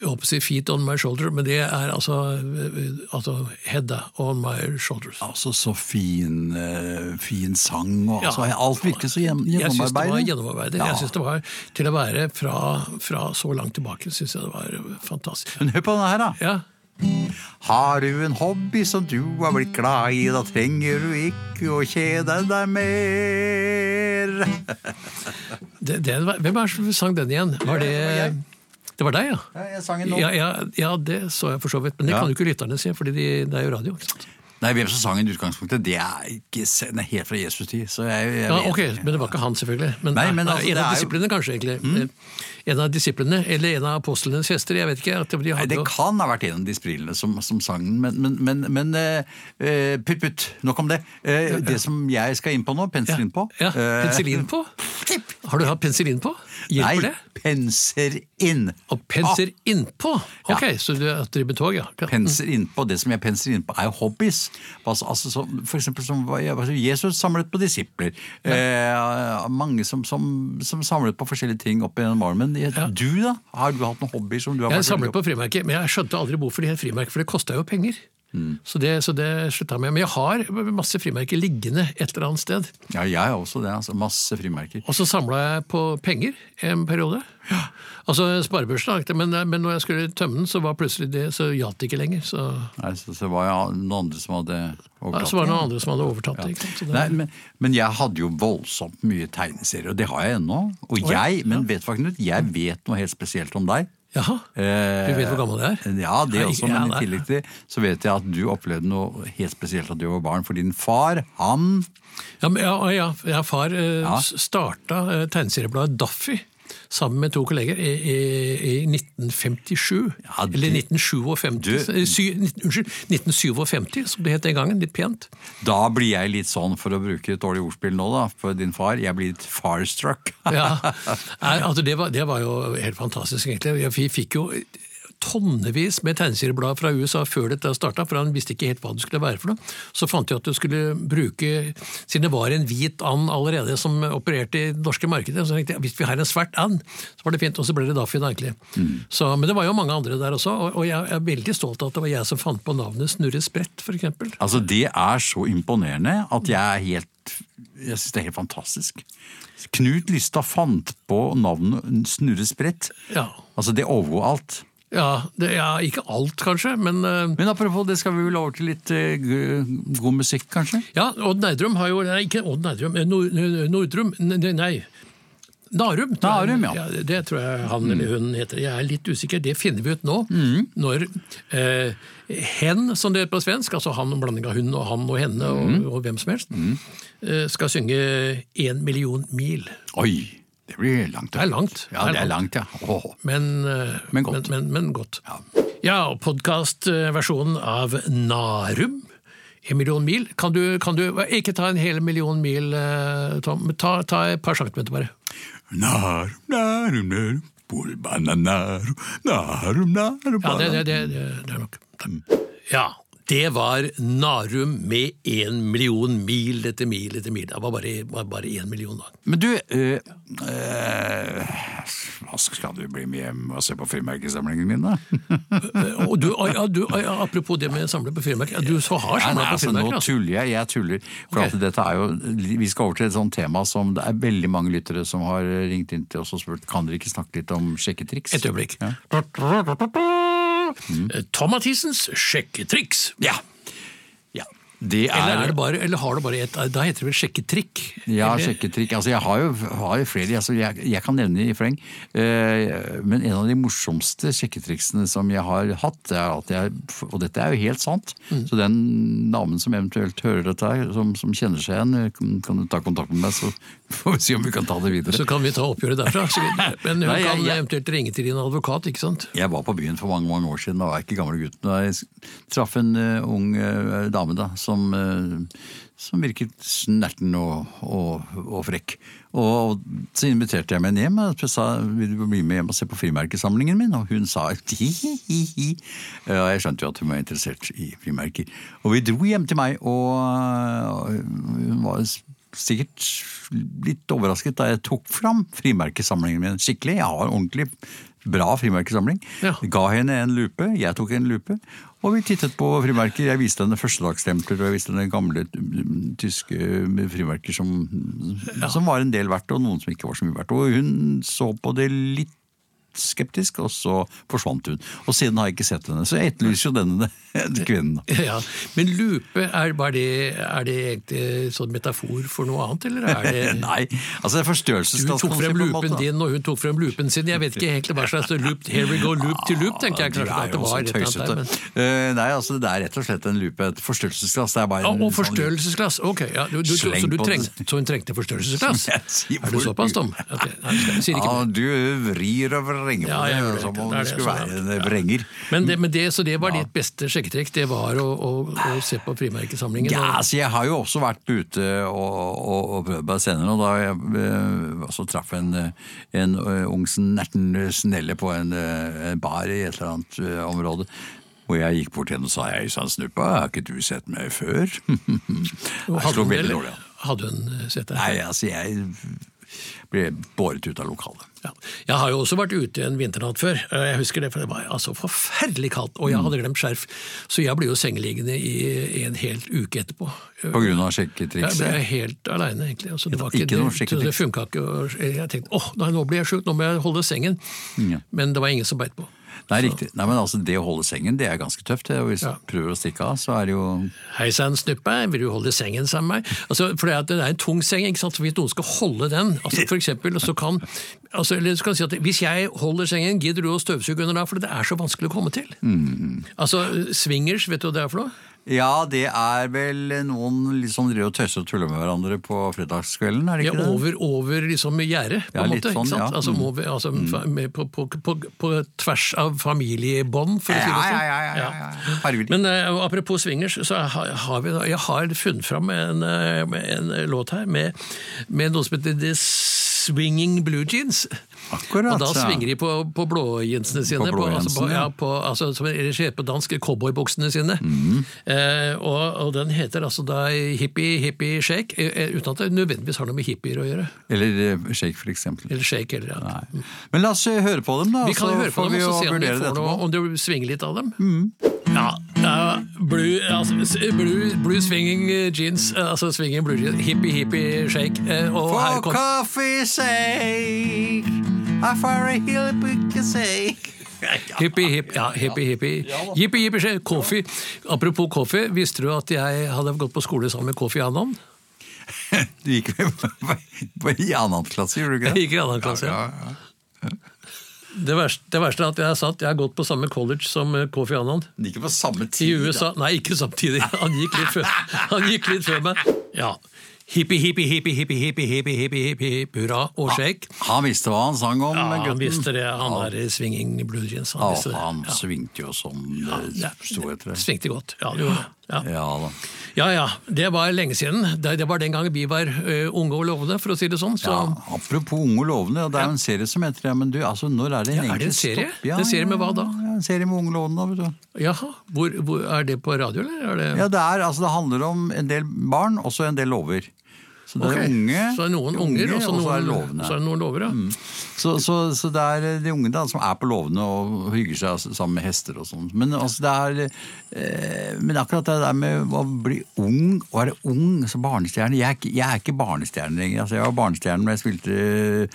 [SPEAKER 2] jeg håper å si feet on my shoulder, men det er altså, eh, altså Hedda on my shoulders.
[SPEAKER 3] Altså, så fin, eh, fin sang. Og,
[SPEAKER 2] Ja.
[SPEAKER 3] altså, alt virker så gjenn-
[SPEAKER 2] Jeg syns det var
[SPEAKER 3] gjennomarbeidet.
[SPEAKER 2] gjennomarbeidet.
[SPEAKER 3] Ja.
[SPEAKER 2] Jeg synes det var, Til å være fra, fra så langt tilbake, syns jeg det var fantastisk.
[SPEAKER 3] Men hør på denne her, da.
[SPEAKER 2] Ja,
[SPEAKER 3] Har du en hobby som du har blitt glad i, da trenger du ikke å kjede deg mer.
[SPEAKER 2] det, det, var- hvem er det som sang den igjen? Var det
[SPEAKER 3] jeg.
[SPEAKER 2] Det var deg, ja?
[SPEAKER 3] Ja, jeg sang en nå.
[SPEAKER 2] Ja, ja, ja, det så jeg for så vidt. Men det
[SPEAKER 3] Ja.
[SPEAKER 2] kan jo ikke lytterne se, fordi de, det er jo radio. ikke sant?
[SPEAKER 3] Nei, hvem som sang den i utgangspunktet, det er ikke se- den er helt fra Jesus tid. Så jeg, jeg
[SPEAKER 2] Ja,
[SPEAKER 3] vet
[SPEAKER 2] ok,
[SPEAKER 3] ikke.
[SPEAKER 2] Men det var ikke han, selvfølgelig. Men,
[SPEAKER 3] Nei, men
[SPEAKER 2] nei, en
[SPEAKER 3] altså, det
[SPEAKER 2] av
[SPEAKER 3] er jo- Mm.
[SPEAKER 2] disiplene, kanskje. egentlig. Eh, En av disiplene, Eller en av apostlenes hester. Jeg vet ikke. At de
[SPEAKER 3] Nei,
[SPEAKER 2] hadde,
[SPEAKER 3] det kan ha vært en av de sprillene som, som sang den, men, men, men, men eh, eh, putt, putt, nok om det. Eh, Det som jeg skal inn på nå, penselin på.
[SPEAKER 2] Ja,
[SPEAKER 3] eh,
[SPEAKER 2] Penicillin på? Har du hatt penicillin på? Hjelper
[SPEAKER 3] Nei, Ah.
[SPEAKER 2] det?
[SPEAKER 3] penser inn.
[SPEAKER 2] Og penser innpå? Ok, så du at driver med tog, ja.
[SPEAKER 3] Ah, penser innpå, Det som jeg penser innpå, er jo hobbies. Altså, altså, som, for eksempel som hva- jeg- altså, Jesus samlet på disipler. Eh, mange som, som, som samlet på forskjellige ting opp gjennom årene. Men jeg- du, da? Har du hatt noen hobbyer som du har
[SPEAKER 2] Jeg
[SPEAKER 3] vært
[SPEAKER 2] samlet på frimerker, men jeg skjønte aldri hvorfor de het frimerker, for det kosta jo penger.
[SPEAKER 3] Mm.
[SPEAKER 2] Så det, så det slutta jeg med. Men jeg har masse frimerker liggende et eller annet sted.
[SPEAKER 3] Ja, jeg har også det. altså Masse frimerker.
[SPEAKER 2] Og så samla jeg på penger en periode. Altså sparebørsen, lagde jeg, men, men når jeg skulle tømme den, så var plutselig det, så gjaldt det ikke lenger. Så,
[SPEAKER 3] Nei, så, så var jeg noen andre som hadde overtatt.
[SPEAKER 2] så var det noen andre som hadde overtatt det. Ikke sant? Så det
[SPEAKER 3] Nei, men, men jeg hadde jo voldsomt mye tegneserier, og det har jeg ennå. Og
[SPEAKER 2] ja,
[SPEAKER 3] jeg, men vet du hva, Knut, jeg vet noe helt spesielt om deg.
[SPEAKER 2] Jaha,
[SPEAKER 3] Eh,
[SPEAKER 2] du vet hvor gammel jeg er?
[SPEAKER 3] Ja, det
[SPEAKER 2] Nei,
[SPEAKER 3] også,
[SPEAKER 2] ja,
[SPEAKER 3] men
[SPEAKER 2] nei.
[SPEAKER 3] i tillegg til det så vet jeg at du opplevde noe helt spesielt da du var barn. For din far, han
[SPEAKER 2] Ja, men, ja, ja, ja, far eh,
[SPEAKER 3] Ja.
[SPEAKER 2] s- starta eh, tegneseriebladet Daffy sammen med to kolleger i, i, i 1957.
[SPEAKER 3] Ja, du-
[SPEAKER 2] eller 1957,
[SPEAKER 3] Du-
[SPEAKER 2] eh, sy, 19, unnskyld, 1957, som det het den gangen. Litt pent.
[SPEAKER 3] Da blir jeg litt sånn, for å bruke et dårlig ordspill nå, da, for din far. Jeg blir litt farstruck.
[SPEAKER 2] Ja. Nei, altså, det, var, det var jo helt fantastisk, egentlig. Jeg- Vi fikk jo tonnevis med tegneserieblader fra USA før dette starta, for han visste ikke helt hva det skulle være for noe. Så fant de at du skulle bruke Siden det var en hvit and allerede som opererte i det norske markedet, så tenkte jeg hvis vi har en svart and, så var det fint. Og så ble det Daffy, da, egentlig. Så, men det var jo mange andre der også, og, og jeg er veldig stolt av at det var jeg som fant på navnet Snurre Sprett, f.eks.
[SPEAKER 3] Altså, det er så imponerende at jeg er helt Jeg syns det er helt fantastisk. Knut Lystad fant på navnet Snurre Sprett.
[SPEAKER 2] Ja.
[SPEAKER 3] Altså, det overgå alt.
[SPEAKER 2] Ja, det, ja, ikke alt, kanskje, men eh,
[SPEAKER 3] Men apropos det, skal vi vel over til litt eh, g- god musikk, kanskje?
[SPEAKER 2] Ja, Odd Nerdrum har jo Nei, ikke Odd Nerdrum. eh, Nor- eh, Nordrum. N- n- Nei. Narum. tror jeg.
[SPEAKER 3] Narum, ja.
[SPEAKER 2] det- Det tror jeg han eller hun heter. Jeg er litt usikker. Det finner vi ut nå.
[SPEAKER 3] Mm.
[SPEAKER 2] Når eh, hen, som det heter på svensk, altså han og blanding av hun og han og henne og,
[SPEAKER 3] Mm.
[SPEAKER 2] og hvem som helst, eh, skal synge én million mil.
[SPEAKER 3] Oi! Det blir langt.
[SPEAKER 2] Det er langt.
[SPEAKER 3] Ja, det er langt, ja. Åh.
[SPEAKER 2] Men, eh,
[SPEAKER 3] Men godt.
[SPEAKER 2] Men, men, godt. Ja, og podcastversjonen av Narum, en million mil. Kan du, kan du ikke ta en hel million mil, eh, Tom? men Ta, ta et par centimeter bare.
[SPEAKER 3] Narum, narum, narum, pulbananarum, narum, narum,
[SPEAKER 2] Ja, det, det, det, det, det er nok.
[SPEAKER 3] Mm.
[SPEAKER 2] Takk. Ja, det var Narum med en million mil etter mil etter mil. Det var bare, var bare en million da.
[SPEAKER 3] Men du, eh, eh, hva skal du bli med hjem og se på frimerkesamlingen min, da?
[SPEAKER 2] Eh, Og du, ah, ja, du, ah, ja, apropos det med å samle på firmaker, du så har
[SPEAKER 3] Nei, nei,
[SPEAKER 2] samlet på
[SPEAKER 3] altså, nå
[SPEAKER 2] firmaker, altså.
[SPEAKER 3] tuller jeg. Jeg tuller. For
[SPEAKER 2] Ok.
[SPEAKER 3] at dette er jo, vi skal over til et sånt tema som det er veldig mange lyttere som har ringt inn til oss og spurt kan dere ikke snakke litt om sjekketriks.
[SPEAKER 2] Et øyeblikk. Eh, Tom Mathisens sjekketriks.
[SPEAKER 3] Ja. ja. Det er
[SPEAKER 2] Eller, er det bare, eller har det bare et Da heter det vel sjekketrikk?
[SPEAKER 3] Ja,
[SPEAKER 2] Eller-
[SPEAKER 3] sjekketrikk. Altså, jeg har jo, har jo flere, altså, jeg, jeg kan nevne i fleng. Eh, men en av de morsomste sjekketriksene som jeg har hatt, det er at jeg, og dette er jo helt sant, så den damen som eventuelt hører dette her, som, som kjenner seg igjen, eh, kan, kan du ta kontakt med meg, så får vi se om vi kan ta det videre.
[SPEAKER 2] Så kan vi ta oppgjøret derfra. Så, men hun
[SPEAKER 3] Nei, jeg-
[SPEAKER 2] kan
[SPEAKER 3] jeg-
[SPEAKER 2] eventuelt ringe til din advokat, ikke sant?
[SPEAKER 3] Jeg var på byen for mange mange år siden og var ikke gamle gutten. Og jeg s- traff en eh, ung eh, dame da, som, eh, som virket snerten og, og, og frekk. Og så inviterte jeg henne hjem og jeg sa vil du bli med hjem og se på frimerkesamlingen min. Og hun sa hi-hi-hi. Og jeg skjønte jo at hun var interessert i frimerker. Og vi dro hjem til meg, og og eh, hun var s- sikkert litt overrasket da jeg tok fram frimerkesamlingen min skikkelig. Jeg har ordentlig bra frimerkesamling.
[SPEAKER 2] Ja.
[SPEAKER 3] Ga henne en lupe, jeg tok en lupe, og vi tittet på frimerker. Jeg viste henne førstedagsstempler og jeg viste henne gamle mm, tyske frimerker som, som var en del verdt, og noen som ikke var så mye verdt. Og hun så på det litt skeptisk, og så forsvant hun. Og siden har jeg ikke sett henne, så jeg etterlyser jo denne kvinnen.
[SPEAKER 2] Ja, Men lupe, er, bare det, er det egentlig sånn metafor for noe annet, eller er det
[SPEAKER 3] Nei, altså det er
[SPEAKER 2] Du
[SPEAKER 3] forstørrelsesglass.
[SPEAKER 2] tok
[SPEAKER 3] kan man si
[SPEAKER 2] frem
[SPEAKER 3] på en måte,
[SPEAKER 2] loopen
[SPEAKER 3] da.
[SPEAKER 2] din, og hun tok frem loopen sin. Jeg vet ikke egentlig hva slags loop Here we go, loop til loop, tenkte jeg
[SPEAKER 3] Ja,
[SPEAKER 2] kanskje at det
[SPEAKER 3] det er jo
[SPEAKER 2] var.
[SPEAKER 3] så
[SPEAKER 2] et eller annet
[SPEAKER 3] tøysete.
[SPEAKER 2] der, men...
[SPEAKER 3] Eh, nei, altså det er rett og slett en lupe. Et forstørrelsesglass. Det er bare
[SPEAKER 2] Ja,
[SPEAKER 3] en
[SPEAKER 2] og
[SPEAKER 3] sånn-
[SPEAKER 2] forstørrelsesglass. Ok, ja, du, du, så,
[SPEAKER 3] Sleng
[SPEAKER 2] du
[SPEAKER 3] på det.
[SPEAKER 2] trengte, så hun trengte forstørrelsesglass?
[SPEAKER 3] Jeg sier
[SPEAKER 2] Er du
[SPEAKER 3] hvor-
[SPEAKER 2] såpass, Tom? Ok, nei, jeg sier ikke
[SPEAKER 3] Ja, du vrir og vrenger på
[SPEAKER 2] Ja, jeg gjør
[SPEAKER 3] det,
[SPEAKER 2] det.
[SPEAKER 3] som om
[SPEAKER 2] Det er
[SPEAKER 3] du
[SPEAKER 2] det
[SPEAKER 3] skulle
[SPEAKER 2] som er
[SPEAKER 3] være en vrenger.
[SPEAKER 2] Men det, men det, så det var ditt beste sjekketrikk? Det var å, å, å se på frimerkesamlingen?
[SPEAKER 3] Ja,
[SPEAKER 2] og-
[SPEAKER 3] altså jeg har jo også vært ute og, og, og prøvd meg senere, og da jeg eh, også traff en, eh, en eh, ung snerten snelle på en, eh, en bar i et eller annet eh, område. Og jeg gikk bort til henne og sa hei sann, snuppa, har ikke du sett meg før?
[SPEAKER 2] og
[SPEAKER 3] Jeg
[SPEAKER 2] hadde
[SPEAKER 3] slo
[SPEAKER 2] hun
[SPEAKER 3] veldig
[SPEAKER 2] eller-
[SPEAKER 3] dårlig an.
[SPEAKER 2] Hadde hun eh, sett deg?
[SPEAKER 3] Nei, altså jeg ble båret ut av lokalet.
[SPEAKER 2] Ja. Jeg har jo også vært ute en vinternatt før. Eh, Jeg husker det, for det var altså forferdelig kaldt, og jeg hadde
[SPEAKER 3] Mm.
[SPEAKER 2] glemt skjerf. Så jeg ble jo sengeliggende i en hel uke etterpå.
[SPEAKER 3] På grunn av
[SPEAKER 2] Jeg ble
[SPEAKER 3] sjekketrikset.
[SPEAKER 2] helt aleine, egentlig. Altså, det var
[SPEAKER 3] Ikke
[SPEAKER 2] ikke,
[SPEAKER 3] noe
[SPEAKER 2] det,
[SPEAKER 3] skikkelig
[SPEAKER 2] så det funka ikke. og Jeg tenkte åh, nei, nå blir jeg sjuk, nå må jeg holde sengen.
[SPEAKER 3] Ja.
[SPEAKER 2] Men det var ingen som beit på.
[SPEAKER 3] Nei, riktig. Nei, men altså, det å holde sengen, det er ganske tøft. det, Og hvis
[SPEAKER 2] Ja.
[SPEAKER 3] du prøver å stikke av, så er det jo
[SPEAKER 2] Hei sann, Snuppe, vil du holde sengen sammen med meg? Altså, for det, at det er en tung seng, ikke sant? så hvis noen skal holde den altså for eksempel, så kan, altså, eller så kan du si at Hvis jeg holder sengen, gidder du å støvsuge under da? For det er så vanskelig å komme til.
[SPEAKER 3] Mm.
[SPEAKER 2] Altså, Swingers, vet du hva det er for noe?
[SPEAKER 3] Ja, det er vel noen litt sånn driver og tøyser og tuller med hverandre på fredagskvelden, er det
[SPEAKER 2] Ja,
[SPEAKER 3] ikke det?
[SPEAKER 2] over, over liksom gjerdet, på
[SPEAKER 3] Ja,
[SPEAKER 2] en
[SPEAKER 3] litt
[SPEAKER 2] måte.
[SPEAKER 3] sånn,
[SPEAKER 2] ikke sant?
[SPEAKER 3] ja.
[SPEAKER 2] Altså,
[SPEAKER 3] Mm.
[SPEAKER 2] over, altså fa- med, på, på, på, på tvers av familiebånd, for å si det
[SPEAKER 3] Ja,
[SPEAKER 2] sånn.
[SPEAKER 3] ja, ja, ja, ja, ja. Farger.
[SPEAKER 2] Men eh, apropos swingers, så har, har vi, da- jeg har funnet fram en, eh, en låt her med, med noe som heter The Swinging Blue Jeans.
[SPEAKER 3] Akkurat,
[SPEAKER 2] Og da
[SPEAKER 3] ja.
[SPEAKER 2] svinger de på, på blåjeansene sine. altså,
[SPEAKER 3] blåjeansene,
[SPEAKER 2] på, ja, på, altså, som er skjer på dansk, cowboybuksene sine.
[SPEAKER 3] Mhm.
[SPEAKER 2] Eh, og, og den heter altså da Hippie Hippie Shake, eh, uten at det nødvendigvis har noe med hippier å gjøre.
[SPEAKER 3] Eller eh, shake, for eksempel.
[SPEAKER 2] Eller shake, eller ja.
[SPEAKER 3] Nei. Men la oss eh, høre på dem, da.
[SPEAKER 2] Vi kan jo høre på
[SPEAKER 3] får
[SPEAKER 2] dem
[SPEAKER 3] vi
[SPEAKER 2] og så
[SPEAKER 3] jo
[SPEAKER 2] se om de
[SPEAKER 3] vurdere Mhm. det
[SPEAKER 2] får noe,
[SPEAKER 3] etterpå.
[SPEAKER 2] om det svinger litt av dem. Ja, ja, blue, altså, s- blue, blue swinging jeans, eh, altså swinging blue jeans, hippie hippie shake. eh, Og her
[SPEAKER 3] For
[SPEAKER 2] kom,
[SPEAKER 3] coffee's sake, I for a hillbilly's sake.
[SPEAKER 2] hippie hippie, ja, hippie hippie, hippie hippie shake, Kofi. Apropos Kofi, visste du at jeg hadde gått på skole sammen med Kofi Annan?
[SPEAKER 3] Du gikk vel på- på- i annen klasse, gjorde du ikke
[SPEAKER 2] Jeg
[SPEAKER 3] det?
[SPEAKER 2] gikk i annen klasse.
[SPEAKER 3] Ja,
[SPEAKER 2] ja. Det verste, det verste er at jeg har, satt, jeg har gått på samme college som eh, Kofi Annan.
[SPEAKER 3] Ikke på
[SPEAKER 2] I
[SPEAKER 3] samme tid.
[SPEAKER 2] USA Nei, ikke samtidig. Han gikk litt før, han gikk litt før meg. Ja. Hippie, hippie, hippie, hippie, hippie, hippie, hippie, hippie, hippie, hurra og shake.
[SPEAKER 3] Han visste hva han sang om,
[SPEAKER 2] Ah. Ja,
[SPEAKER 3] gutten.
[SPEAKER 2] han visste det. Han er i swinging blue jeans. Han
[SPEAKER 3] Ja,
[SPEAKER 2] visste det.
[SPEAKER 3] han
[SPEAKER 2] Ja.
[SPEAKER 3] svingte jo som det
[SPEAKER 2] Ja,
[SPEAKER 3] sto etter det.
[SPEAKER 2] Svingte godt. Ja, det gjorde han. ja.
[SPEAKER 3] Ja da.
[SPEAKER 2] ja ja, det var lenge siden. Det, det var den gangen vi var ø, unge og lovende, for å si det sånn. Så
[SPEAKER 3] Ja, apropos unge og lovende, og det er jo en serie som heter det, men du, altså når er det en
[SPEAKER 2] Ja, er det en
[SPEAKER 3] egentlig
[SPEAKER 2] serie?
[SPEAKER 3] stopp? Ja,
[SPEAKER 2] En serie med
[SPEAKER 3] ja,
[SPEAKER 2] hva da?
[SPEAKER 3] Ja, en serie med unge og lovende, da, vet du.
[SPEAKER 2] jaha, hvor, hvor, er det på radio, eller? Er det,
[SPEAKER 3] Ja, det er, altså det handler om en del barn, og så en del lover. Så det
[SPEAKER 2] Ok,
[SPEAKER 3] er unge,
[SPEAKER 2] så er det noen unger, og så, noen,
[SPEAKER 3] er det lovende. Mm.
[SPEAKER 2] Så er det noen lovere.
[SPEAKER 3] Så, så, så det er eh, de unge da, som er på låvene og hygger seg altså, sammen med hester og sånn. Men, altså, det er, eh, men akkurat det der med å bli ung, å være ung som barnestjerne Jeg er ikke, jeg er ikke barnestjerne lenger. Altså, jeg var barnestjerne da jeg spilte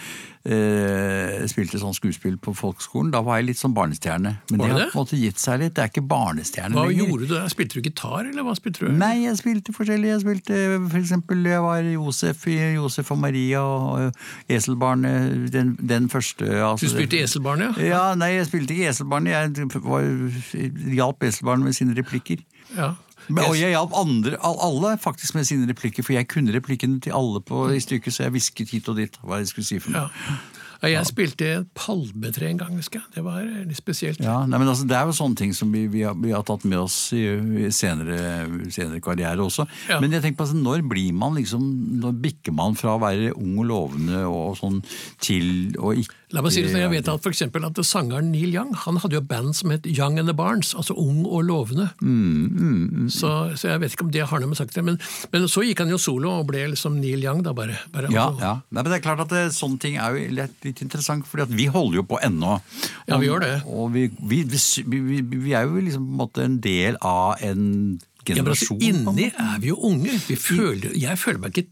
[SPEAKER 3] eh, spilte sånn skuespill på folkeskolen. Da var jeg litt sånn barnestjerne. Men
[SPEAKER 2] Var
[SPEAKER 3] det
[SPEAKER 2] du
[SPEAKER 3] har
[SPEAKER 2] det?
[SPEAKER 3] på en måte gitt seg litt. Det er ikke barnestjerne
[SPEAKER 2] Hva gjorde du der? Spilte du gitar, eller hva spilte du?
[SPEAKER 3] Nei, jeg spilte forskjellig. Jeg spilte eh, for eksempel jeg var Josef i Josef og Maria og eh, Eselbarnet. Den, den første.
[SPEAKER 2] Du
[SPEAKER 3] altså-
[SPEAKER 2] spilte Eselbarn, ja?
[SPEAKER 3] Ja, nei, jeg spilte ikke Eselbarnet. Jeg var- hjalp Eselbarnet med sine replikker.
[SPEAKER 2] ja.
[SPEAKER 3] Men, og jeg hjalp andre, al- alle faktisk med sine replikker, for jeg kunne replikkene til alle på, i stykket, så jeg hvisket hit og dit hva jeg skulle si for noe.
[SPEAKER 2] Ja. Ja, Jeg spilte et palmetre en gang, husker jeg. Det var eh, litt spesielt.
[SPEAKER 3] Ja, nei, men altså, Det er jo sånne ting som vi, vi, har, vi har tatt med oss i, i senere, senere karriere også.
[SPEAKER 2] Ja.
[SPEAKER 3] Men jeg tenker på altså, når blir man liksom, når bikker man fra å være ung og lovende og sånn til å ikke
[SPEAKER 2] La meg si det sånn, jeg vet at for eksempel at Sangeren Neil Young han hadde jo et band som het Young and the Barnes, altså Ung og lovende.
[SPEAKER 3] Mm,
[SPEAKER 2] Så, så jeg vet ikke om det har noe med saken men, men så gikk han jo solo og ble liksom Neil Young, da bare. bare altså.
[SPEAKER 3] Ja,
[SPEAKER 2] og-
[SPEAKER 3] ja. Nei, men det er klart at eh, Sånne ting er jo litt, litt interessant, for vi holder jo på ennå.
[SPEAKER 2] Ja, vi gjør det.
[SPEAKER 3] Og vi, vi, vi, vi, vi er jo liksom på en måte en del av en
[SPEAKER 2] Ja, men altså,
[SPEAKER 3] generasjon. på en
[SPEAKER 2] inni er vi jo unge. Vi føler, jeg føler meg ikke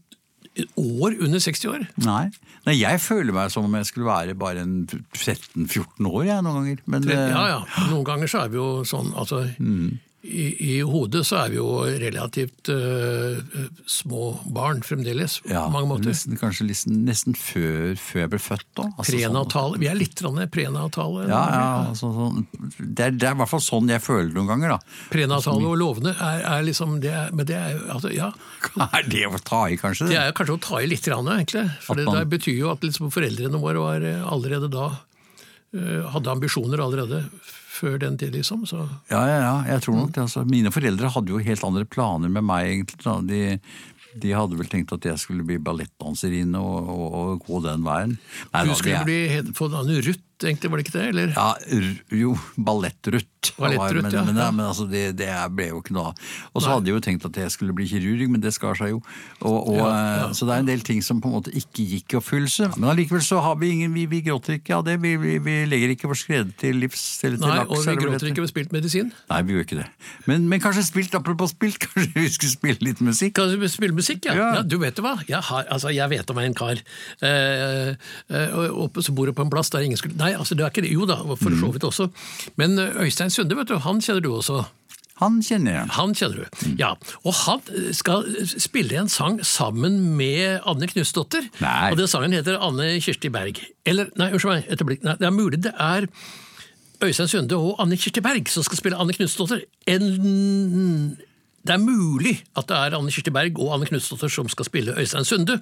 [SPEAKER 2] et år under 60 år.
[SPEAKER 3] Nei. Nei, jeg føler meg som om jeg skulle være bare en 13-14 år jeg, noen ganger. Men, eh,
[SPEAKER 2] Ja, ja. Noen ganger så er vi jo sånn, altså
[SPEAKER 3] Mm.
[SPEAKER 2] i, I hodet så er vi jo relativt øh, øh, små barn fremdeles, på
[SPEAKER 3] ja,
[SPEAKER 2] mange måter.
[SPEAKER 3] Nesten, kanskje nesten, nesten før, før jeg ble født, da. Altså, sånn-
[SPEAKER 2] Prenatale. Vi er litt grann prenatale.
[SPEAKER 3] Ja, ja, altså, sånn, det, er, det er i hvert fall sånn jeg føler noen ganger, da.
[SPEAKER 2] Prenatale
[SPEAKER 3] Sånn-
[SPEAKER 2] og lovende er, er liksom det er, Men det er jo altså, Ja.
[SPEAKER 3] Er det å ta i, kanskje?
[SPEAKER 2] Det er jo kanskje å ta i litt, grann, egentlig. For
[SPEAKER 3] At
[SPEAKER 2] det,
[SPEAKER 3] man-
[SPEAKER 2] det betyr jo at liksom foreldrene våre var eh, allerede da eh, Hadde ambisjoner allerede før den tid, liksom. Så
[SPEAKER 3] Ja, ja, ja, jeg tror
[SPEAKER 2] Mm.
[SPEAKER 3] nok det. Altså. Mine foreldre hadde jo helt andre planer med meg, egentlig. Da. De, de hadde vel tenkt at jeg skulle bli ballettdanserinne og, og, og gå den veien. Nei,
[SPEAKER 2] du
[SPEAKER 3] da,
[SPEAKER 2] skulle
[SPEAKER 3] det er-
[SPEAKER 2] bli het- få navnet Ruth, egentlig, var det ikke det? Eller?
[SPEAKER 3] Ja, r- jo, ballettrutt.
[SPEAKER 2] Ballettrutt,
[SPEAKER 3] men,
[SPEAKER 2] ja.
[SPEAKER 3] Men, men altså, det, det ble jo ikke noe av. Og så hadde jeg jo tenkt at jeg skulle bli kirurg, men det skar seg jo. Og, og,
[SPEAKER 2] Ja, ja.
[SPEAKER 3] eh, Så det er en del ting som på en måte ikke gikk i oppfyllelse. Men allikevel så har vi ingen Vi, vi gråter ikke av det. Vi, vi, vi legger ikke vår skred til livs eller til
[SPEAKER 2] Nei,
[SPEAKER 3] laks.
[SPEAKER 2] og vi
[SPEAKER 3] eller hva det
[SPEAKER 2] gråter
[SPEAKER 3] heter.
[SPEAKER 2] ikke ved spilt medisin.
[SPEAKER 3] Nei, vi gjør ikke det. Men, men kanskje spilt, apropos spilt, kanskje vi skulle spille litt musikk?
[SPEAKER 2] Kan du spille musikk, ja?
[SPEAKER 3] Ja.
[SPEAKER 2] ja. du vet jo hva? Jeg, har, altså, jeg vet om en kar eh, eh, og- oppe, som bor på en plass der ingen skulle Nei, altså, det er ikke det. Jo da, for
[SPEAKER 3] Mm.
[SPEAKER 2] så vidt også. Men eh, Øystein Sunde, vet du, han kjenner du også.
[SPEAKER 3] Han kjenner jeg.
[SPEAKER 2] Han kjenner du. Ja. Og han eh, skal spille en sang sammen med Anne Knusdotter.
[SPEAKER 3] Nei.
[SPEAKER 2] Og den sangen heter Anne Kirsti Berg. Eller, nei, unnskyld meg, et øyeblikk. Nei, det er mulig det er Øystein Sunde og Anne Kirsti Berg som skal spille Anne Knusdotter. En det er mulig at det er Anne Kirsti Berg og Anne Knusdotter som skal spille Øystein Sunde,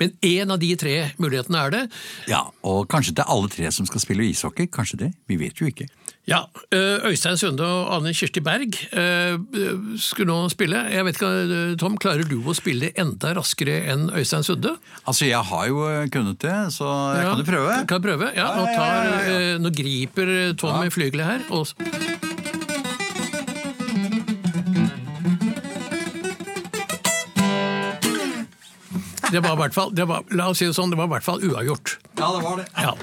[SPEAKER 2] men én av de tre mulighetene er det.
[SPEAKER 3] Ja, Og kanskje det er alle tre som skal spille ishockey? Kanskje det? Vi vet jo ikke.
[SPEAKER 2] Ja, ø, Øystein Sunde og Anne Kirsti Berg ø, ø, skulle nå spille. Jeg vet ikke, ø, Tom, klarer du å spille enda raskere enn Øystein Sunde?
[SPEAKER 3] Altså, jeg har jo kunnet det, så jeg kan jo prøve.
[SPEAKER 2] Kan jeg prøve? Ja,
[SPEAKER 3] Ja,
[SPEAKER 2] nå,
[SPEAKER 3] ja,
[SPEAKER 2] tar,
[SPEAKER 3] ja, ja,
[SPEAKER 2] ø, nå griper eh, Tom i flygelet her. Og, det var i hvert fall, det var, la oss si det sånn, det var i hvert fall uavgjort.
[SPEAKER 3] Ja, det var det.
[SPEAKER 2] Ja.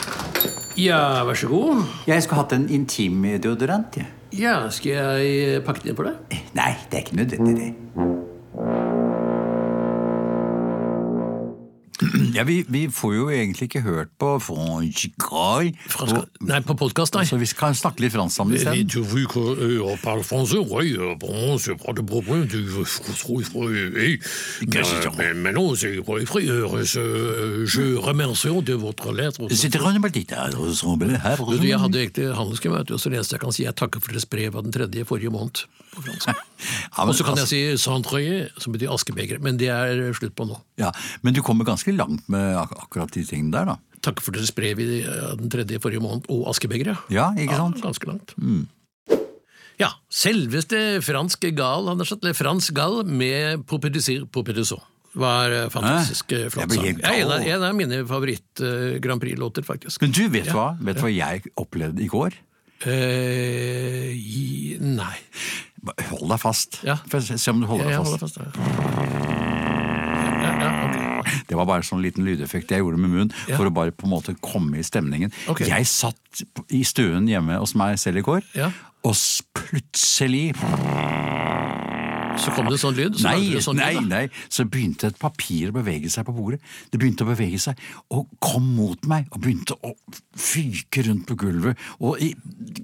[SPEAKER 2] ja, vær så god.
[SPEAKER 3] Jeg skulle hatt en intimdeodorant, jeg.
[SPEAKER 2] Ja, skal jeg pakke det inn for deg?
[SPEAKER 3] Nei, det er ikke nødvendig, det. Ja, vi, vi får jo egentlig ikke hørt på Franchigal,
[SPEAKER 2] Fransk, nei, på podkast, nei.
[SPEAKER 3] så vi kan snakke litt fransk sammen
[SPEAKER 2] Et
[SPEAKER 3] isteden.
[SPEAKER 2] tu veux que euh, on parle français, oui, euh, bon, c'est pas de problème, tu veux français, oui, oui. Mais,
[SPEAKER 3] Qu'est-ce que c'est
[SPEAKER 2] mais, mais non, c'est oui, oui, euh, je, euh, je remercie de votre lettre.
[SPEAKER 3] Sitter Rønne Baltita her og somler her og
[SPEAKER 2] Du, jeg hadde egentlig handelsgemøte, og så det eneste jeg kan si, jeg takker for deres brev av den tredje forrige måned. på fransk.
[SPEAKER 3] Ja,
[SPEAKER 2] Og så kan jeg si centrier, som betyr askebeger, men det er slutt på nå.
[SPEAKER 3] ja, Men du kommer ganske langt med ak akkurat de tingene der, da.
[SPEAKER 2] Takker for deres brev i, av den tredje forrige måned, og askebegeret.
[SPEAKER 3] Ja, ikke sant?
[SPEAKER 2] Ja,
[SPEAKER 3] Mm.
[SPEAKER 2] ganske langt. Ja, selveste fransk gal, Anders Atle. Frans Gal med Popedisir Popedisson. Var eh, fantastisk
[SPEAKER 3] Hæ?
[SPEAKER 2] eh, flott
[SPEAKER 3] Jeg
[SPEAKER 2] sang.
[SPEAKER 3] blir helt
[SPEAKER 2] Ja, En av,
[SPEAKER 3] gal.
[SPEAKER 2] en av mine favoritt-Grand Prix-låter, faktisk.
[SPEAKER 3] Men du, vet du hva? Vet du hva jeg opplevde i går?
[SPEAKER 2] Eh, i, nei.
[SPEAKER 3] Bare Hold deg fast.
[SPEAKER 2] Ja.
[SPEAKER 3] Få Se se om du holder
[SPEAKER 2] Jeg
[SPEAKER 3] deg
[SPEAKER 2] holder
[SPEAKER 3] fast.
[SPEAKER 2] fast. ja. Ja, ja, ok.
[SPEAKER 3] Det var bare sånn liten lydeffekt jeg gjorde med munnen
[SPEAKER 2] Ja.
[SPEAKER 3] for å bare på en måte komme i stemningen.
[SPEAKER 2] Ok.
[SPEAKER 3] Jeg satt i stuen hjemme hos meg selv i går,
[SPEAKER 2] Ja.
[SPEAKER 3] og s- plutselig
[SPEAKER 2] Så kom det sånn lyd. Så lagde
[SPEAKER 3] Nei,
[SPEAKER 2] du sånn
[SPEAKER 3] nei,
[SPEAKER 2] lyd da.
[SPEAKER 3] nei. Så begynte et papir å bevege seg på bordet. Det begynte å bevege seg, og kom mot meg, og begynte å fyke rundt på gulvet, og i-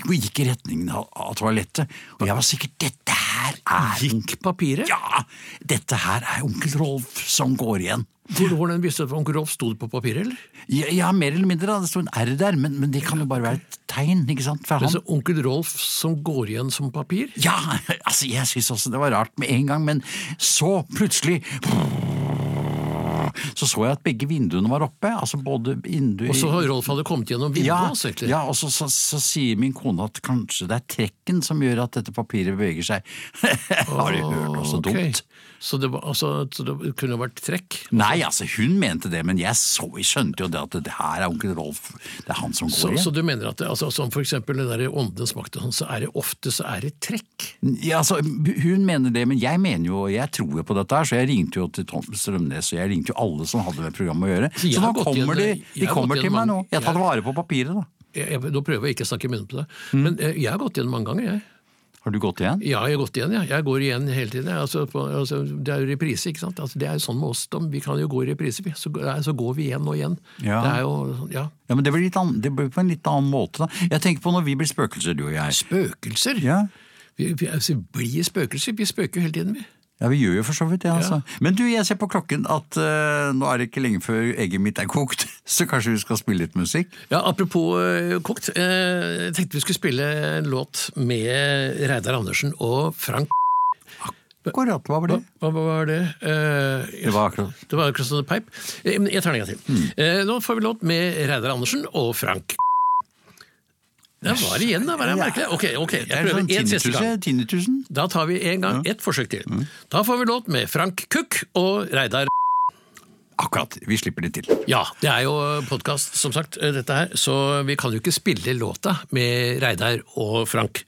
[SPEAKER 3] og gikk i retningen av, av toalettet. Og jeg var sikkert Dette her er
[SPEAKER 2] Gikk papiret?
[SPEAKER 3] Ja! Dette her er onkel Rolf som går igjen.
[SPEAKER 2] Hvor- Hvordan visste du at onkel Rolf sto det på papiret, eller?
[SPEAKER 3] Ja, ja, mer eller mindre. da, Det sto en R der, men, men det kan jo bare være et tegn. ikke sant? For han,
[SPEAKER 2] Altså, onkel Rolf som går igjen som papir?
[SPEAKER 3] ja, altså, Jeg syntes også det var rart med en gang, men så plutselig Så så jeg at begge vinduene var oppe. altså både vinduer...
[SPEAKER 2] Og så har Rolf hadde kommet gjennom vinduet
[SPEAKER 3] ja,
[SPEAKER 2] hans, egentlig.
[SPEAKER 3] ja, og så, så, så sier min kone at kanskje det er trekken som gjør at dette papiret beveger seg. har du hørt noe så
[SPEAKER 2] Ok.
[SPEAKER 3] dumt?
[SPEAKER 2] Så det, var, altså, så det kunne vært trekk?
[SPEAKER 3] Nei, altså hun mente det, men jeg så, skjønte jo det at det her er onkel Rolf. Det er han som går
[SPEAKER 2] Så,
[SPEAKER 3] igjen.
[SPEAKER 2] så du mener at det, altså, som for eksempel den der åndenes makt, og sånn, så er det ofte så er det trekk?
[SPEAKER 3] Ja, altså, hun mener det, men jeg mener jo, jeg tror jo på dette her, så jeg ringte jo til Tom Strømnes, og jeg ringte jo alle som hadde med programmet å gjøre.
[SPEAKER 2] jeg
[SPEAKER 3] Så nå
[SPEAKER 2] har gått
[SPEAKER 3] kommer de,
[SPEAKER 2] gjennom- jeg
[SPEAKER 3] de
[SPEAKER 2] har
[SPEAKER 3] kommer
[SPEAKER 2] gått
[SPEAKER 3] til
[SPEAKER 2] gjennom-
[SPEAKER 3] meg nå. Jeg tar
[SPEAKER 2] jeg-
[SPEAKER 3] vare på papiret, da.
[SPEAKER 2] Jeg, jeg, nå prøver jeg ikke å snakke i munnen på deg,
[SPEAKER 3] Mm.
[SPEAKER 2] men eh, jeg har gått igjen mange ganger, jeg.
[SPEAKER 3] Har du gått igjen?
[SPEAKER 2] Ja, jeg har gått igjen, ja. jeg går igjen hele tiden. jeg. Altså, på, altså, det er jo reprise, ikke sant? Altså, det er jo sånn med oss, da. vi kan jo gå i reprise, vi. så, nei, så går vi igjen og igjen.
[SPEAKER 3] Ja.
[SPEAKER 2] Det er jo, ja.
[SPEAKER 3] Ja, men det blir, litt annen, det blir på en litt annen måte, da. Jeg tenker på når vi blir spøkelser, du og jeg.
[SPEAKER 2] Spøkelser?
[SPEAKER 3] Ja,
[SPEAKER 2] Vi, vi altså, blir spøkelser, vi spøker jo hele tiden, vi.
[SPEAKER 3] ja vi gjør jo for så vidt det, altså. Men du, jeg ser på klokken at eh, nå er det ikke lenge før egget mitt er kokt, så kanskje vi skal spille litt musikk?
[SPEAKER 2] Ja, Apropos eh, kokt, eh, jeg tenkte vi skulle spille en låt med Reidar Andersen og Frank
[SPEAKER 3] Akkurat, hva var det?
[SPEAKER 2] Hva hva var det? Eh,
[SPEAKER 3] Det var akkurat.
[SPEAKER 2] det var Christian Peip. Eh, men Jeg tar den en gang til.
[SPEAKER 3] Mm.
[SPEAKER 2] Eh, nå får vi låt med Reidar Andersen og Frank Det var det igjen, da. Var det merkelig? Ok, ok,
[SPEAKER 3] Det
[SPEAKER 2] jeg
[SPEAKER 3] er
[SPEAKER 2] prøver
[SPEAKER 3] sånn
[SPEAKER 2] en siste gang.
[SPEAKER 3] 10 000.
[SPEAKER 2] Da tar vi en gang ett forsøk til.
[SPEAKER 3] Mm.
[SPEAKER 2] Da får vi låt med Frank Kukk og Reidar
[SPEAKER 3] Akkurat, vi slipper det til.
[SPEAKER 2] Ja, det er jo podkast, som sagt, eh, dette her, så vi kan jo ikke spille låta med Reidar og Frank.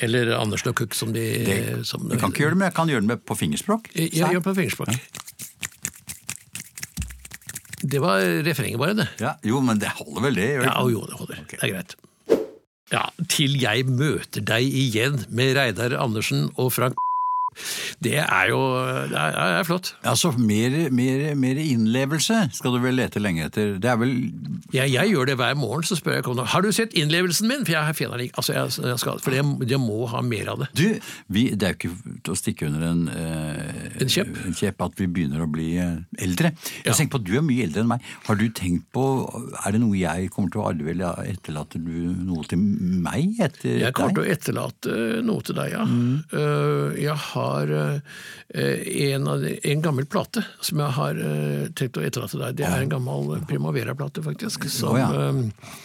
[SPEAKER 2] Eller Andersen og Cook, som de
[SPEAKER 3] Det-
[SPEAKER 2] som,
[SPEAKER 3] Jeg kan ikke gjøre det, men jeg kan gjøre det med på fingerspråk.
[SPEAKER 2] Ja,
[SPEAKER 3] Så her.
[SPEAKER 2] gjør på fingerspråk. Det var refrenget, bare, det.
[SPEAKER 3] Ja, jo, men det holder vel det? gjør det
[SPEAKER 2] Ja,
[SPEAKER 3] ikke?
[SPEAKER 2] jo, det holder. Det er greit. Ja, Til jeg møter deg igjen med Reidar Andersen og Frank Det er jo Det er, det er flott.
[SPEAKER 3] Altså, mer, mer, mer innlevelse skal du vel lete lenge etter. Det er vel
[SPEAKER 2] Jeg, jeg gjør det hver morgen, så spør jeg kona har du sett innlevelsen min. For jeg finner den ikke. Altså, jeg, jeg skal, for jeg, jeg må ha mer av det.
[SPEAKER 3] Du, vi, det er jo ikke til å stikke under en, eh,
[SPEAKER 2] En kjepp?
[SPEAKER 3] at vi begynner å bli eh, eldre.
[SPEAKER 2] Ja.
[SPEAKER 3] Jeg tenker på at Du er mye eldre enn meg. Har du tenkt på Er det noe jeg kommer til å arve, eller etterlater du noe til meg etter
[SPEAKER 2] Jeg kommer til
[SPEAKER 3] deg?
[SPEAKER 2] å etterlate noe til deg, ja.
[SPEAKER 3] Mm.
[SPEAKER 2] Eh, jeg har eh, en, av de- en gammel plate som jeg har eh, tenkt å etterlate deg. Det er en gammel eh, Primavera-plate, faktisk, som,
[SPEAKER 3] Å, ja. Mm.
[SPEAKER 2] eh,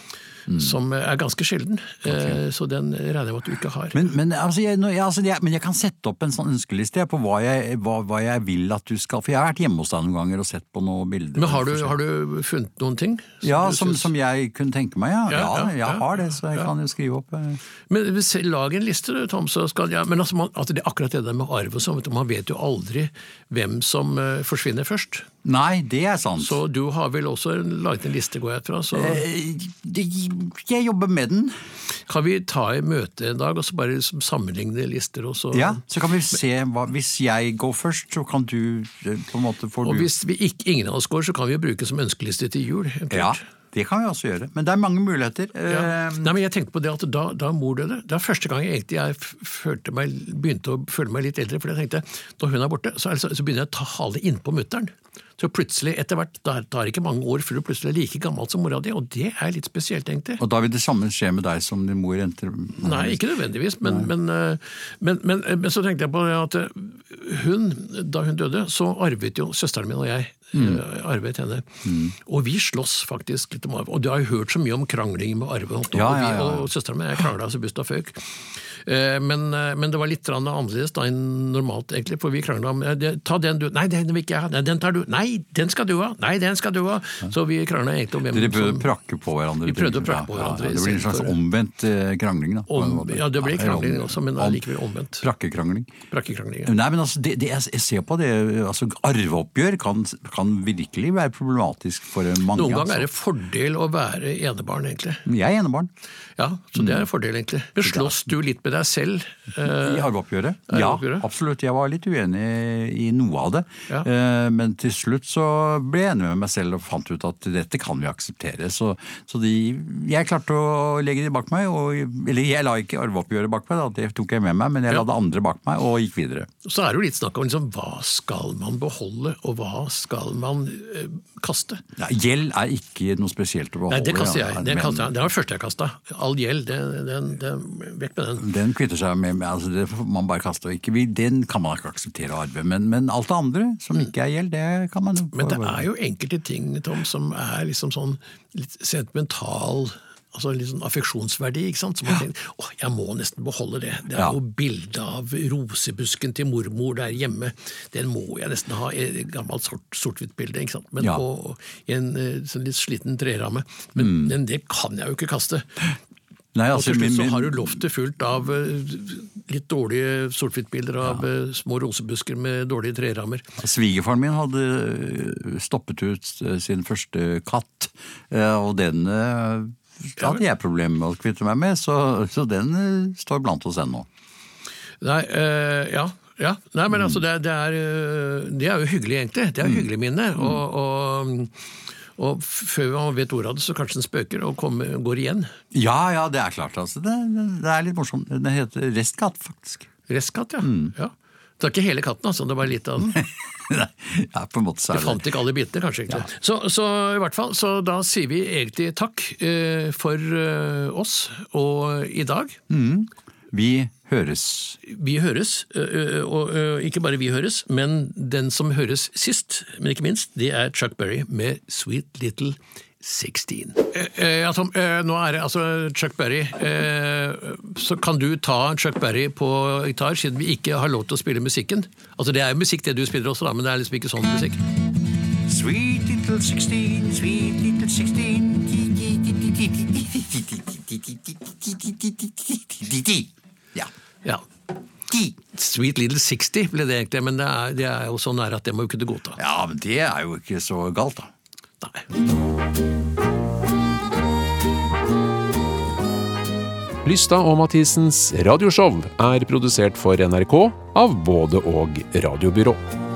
[SPEAKER 2] som er ganske sjelden. Eh, så den regner jeg med at du ikke har.
[SPEAKER 3] Men, men, altså, jeg, når jeg, altså, jeg, men jeg kan sette opp en sånn ønskeliste jeg, på hva jeg, hva, hva jeg vil at du skal For jeg har vært hjemme hos deg noen ganger og sett på noen bilder.
[SPEAKER 2] Men har du, har du funnet noen ting? som
[SPEAKER 3] Ja,
[SPEAKER 2] du
[SPEAKER 3] som,
[SPEAKER 2] synes-
[SPEAKER 3] som jeg kunne tenke meg, ja. Ja,
[SPEAKER 2] Ja, ja,
[SPEAKER 3] jeg
[SPEAKER 2] ja,
[SPEAKER 3] har det, så jeg kan jo skrive opp. eh.
[SPEAKER 2] Men hvis- Lag en liste, du, Tom. Så skal, ja, men altså, man, altså, det er akkurat det der med arv og sånn. vet du, Man vet jo aldri hvem som eh, forsvinner først.
[SPEAKER 3] Nei, det er sant.
[SPEAKER 2] Så du har vel også laget en liste, går jeg ut fra. Så
[SPEAKER 3] Eh, det, jeg jobber med den.
[SPEAKER 2] kan vi ta i møte en dag og så bare liksom sammenligne lister. Og, så,
[SPEAKER 3] Ja, Så kan vi se hva Hvis jeg går først, så kan du eh, på en måte få
[SPEAKER 2] og
[SPEAKER 3] du
[SPEAKER 2] hvis vi ikke, ingen av oss går, så kan vi jo bruke som ønskeliste til jul. eventuelt.
[SPEAKER 3] Ja, det kan vi også gjøre. Men det er mange muligheter.
[SPEAKER 2] Ja.
[SPEAKER 3] Eh,
[SPEAKER 2] Nei, men jeg tenkte på det at Da, da mor døde, det er første gang jeg egentlig jeg f- følte meg, begynte å føle meg litt eldre. For jeg tenkte når hun er borte, så, er det så- så begynner jeg å ta hale innpå mutter'n. Så plutselig, etter hvert, da tar det ikke mange år før du plutselig er like gammel som mora di. Og det er litt spesielt, egentlig.
[SPEAKER 3] Og da vil det samme skje med deg som din mor endte
[SPEAKER 2] Nei, ikke nødvendigvis, men, men, eh, men, men, eh, men så tenkte jeg på det at eh, hun, da hun døde, så arvet jo søsteren min og jeg
[SPEAKER 3] Mm.
[SPEAKER 2] eh, arvet henne. Og vi slåss faktisk litt om arv. Og du har jo hørt så mye om krangling med arve. Og,
[SPEAKER 3] Ja,
[SPEAKER 2] og,
[SPEAKER 3] ja,
[SPEAKER 2] vi-
[SPEAKER 3] ja.
[SPEAKER 2] og søsteren min jeg krangla så busta føk. Eh, Men, eh, men det var litt grann annerledes da enn normalt, egentlig, for vi krangla om eh, det- Ta den du Nei, den vil ikke jeg ha. Nei, den tar du. Nei, den skal du ha. Nei, den skal du ha. Så vi krangla egentlig om hvem
[SPEAKER 3] Dere prøvde
[SPEAKER 2] som-
[SPEAKER 3] å prakke på hverandre?
[SPEAKER 2] Vi prøvde å prakke på hverandre
[SPEAKER 3] det blir en slags
[SPEAKER 2] istedenfor-
[SPEAKER 3] omvendt eh, krangling, da. på en
[SPEAKER 2] om,
[SPEAKER 3] måte.
[SPEAKER 2] ja, det ble
[SPEAKER 3] eller om-
[SPEAKER 2] krangling også, men
[SPEAKER 3] om-
[SPEAKER 2] allikevel omvendt.
[SPEAKER 3] Prakkekrangling.
[SPEAKER 2] Brakkekrangling. ja.
[SPEAKER 3] Nei, men altså, det, det, jeg jeg ser på det, altså Arveoppgjør kan, kan virkelig være problematisk for mange.
[SPEAKER 2] Noen ganger
[SPEAKER 3] altså.
[SPEAKER 2] er det fordel å være enebarn, egentlig.
[SPEAKER 3] Jeg er enebarn. Mm.
[SPEAKER 2] Ja, Så det er en fordel, egentlig. Men slåss du litt med deg deg selv. eh,
[SPEAKER 3] I arveoppgjøret?
[SPEAKER 2] I
[SPEAKER 3] Ja,
[SPEAKER 2] arveoppgjøret?
[SPEAKER 3] absolutt. Jeg var litt uenig i noe av det.
[SPEAKER 2] Ja.
[SPEAKER 3] Eh, Men til slutt så ble jeg enig med meg selv og fant ut at dette kan vi akseptere. Så, så de, jeg klarte å legge det bak meg. Og, eller jeg la ikke arveoppgjøret bak meg, da, det tok jeg med meg, men jeg
[SPEAKER 2] Ja.
[SPEAKER 3] la det andre bak meg og gikk videre.
[SPEAKER 2] Så er det jo litt snakk om liksom, hva skal man beholde, og hva skal man eh, kaste?
[SPEAKER 3] Ja, gjeld er ikke noe spesielt å beholde.
[SPEAKER 2] Nei, det kaster jeg.
[SPEAKER 3] ja,
[SPEAKER 2] Det,
[SPEAKER 3] men
[SPEAKER 2] kaster jeg. det var det første jeg kasta. All gjeld, det, den, den, vekk med den.
[SPEAKER 3] Den kvitter seg med, med altså det får man bare kaste og ikke vi- Den kan man ikke akseptere å arve. Men, men alt det andre som ikke er gjeld, det kan man jo
[SPEAKER 2] Mm. Men det er jo enkelte ting, Tom, som er liksom sånn litt sentimental Altså litt sånn affeksjonsverdi. ikke sant? Så man tenker, åh, jeg må nesten beholde det. Det er
[SPEAKER 3] Ja.
[SPEAKER 2] jo bilde av rosebusken til mormor der hjemme. Den må jeg nesten ha. Et gammelt sort, sort-hvitt-bilde. ikke sant? Men
[SPEAKER 3] Ja.
[SPEAKER 2] på i en eh, sånn litt sliten treramme. Men, men det kan jeg jo ikke kaste.
[SPEAKER 3] Nei,
[SPEAKER 2] Og
[SPEAKER 3] Mm. altså,
[SPEAKER 2] til
[SPEAKER 3] min-
[SPEAKER 2] slutt så
[SPEAKER 3] min-
[SPEAKER 2] har du loftet fullt av eh, litt dårlige sort-hvitt-bilder av eh, små rosebusker med dårlige trerammer.
[SPEAKER 3] Svigerfaren min hadde stoppet ut eh, sin første katt, eh, og den eh, hadde jeg problemer med å kvitte meg med, så, så den eh, står blant oss ennå.
[SPEAKER 2] Nei, eh, ja. ja. Nei, men altså, det, det, er, eh, det er jo hyggelig, egentlig. Det er jo hyggelig minne. Og, og, og før man vet ordet av det, så kanskje den spøker og kommer, går igjen.
[SPEAKER 3] Ja, ja, det er klart, altså. Det, det er litt morsomt. Den heter restkatt, faktisk.
[SPEAKER 2] Restkatt, ja. ja. Det er ikke hele katten, altså. Det er bare litt av den.
[SPEAKER 3] Nei, ja, på en måte så
[SPEAKER 2] Jeg
[SPEAKER 3] er det
[SPEAKER 2] fant ikke alle bitene, kanskje. egentlig. Så, så i hvert fall, så da sier vi egentlig takk eh, for eh, oss og i dag.
[SPEAKER 3] Vi høres.
[SPEAKER 2] Vi høres, ø, ø, og ø, ikke bare vi høres, men den som høres sist, men ikke minst, det er Chuck Berry med Sweet Little 16. Eh, eh, Ja, Tom, eh, nå er det altså Chuck Berry. eh, Så kan du ta Chuck Berry på gitar, siden vi ikke har lov til å spille musikken? Altså, det er jo musikk det du spiller også, da, men det er liksom ikke sånn musikk.
[SPEAKER 3] Sweet little 16, sweet little 16 Ja.
[SPEAKER 2] Ja. Sweet Little 60 ble det egentlig, men det er, det er jo så nære at det må jo kunne godta.
[SPEAKER 3] ja, men det er jo ikke så galt, da.
[SPEAKER 2] Nei.
[SPEAKER 1] Lystad og Mathisens radioshow er produsert for NRK av både og radiobyrå.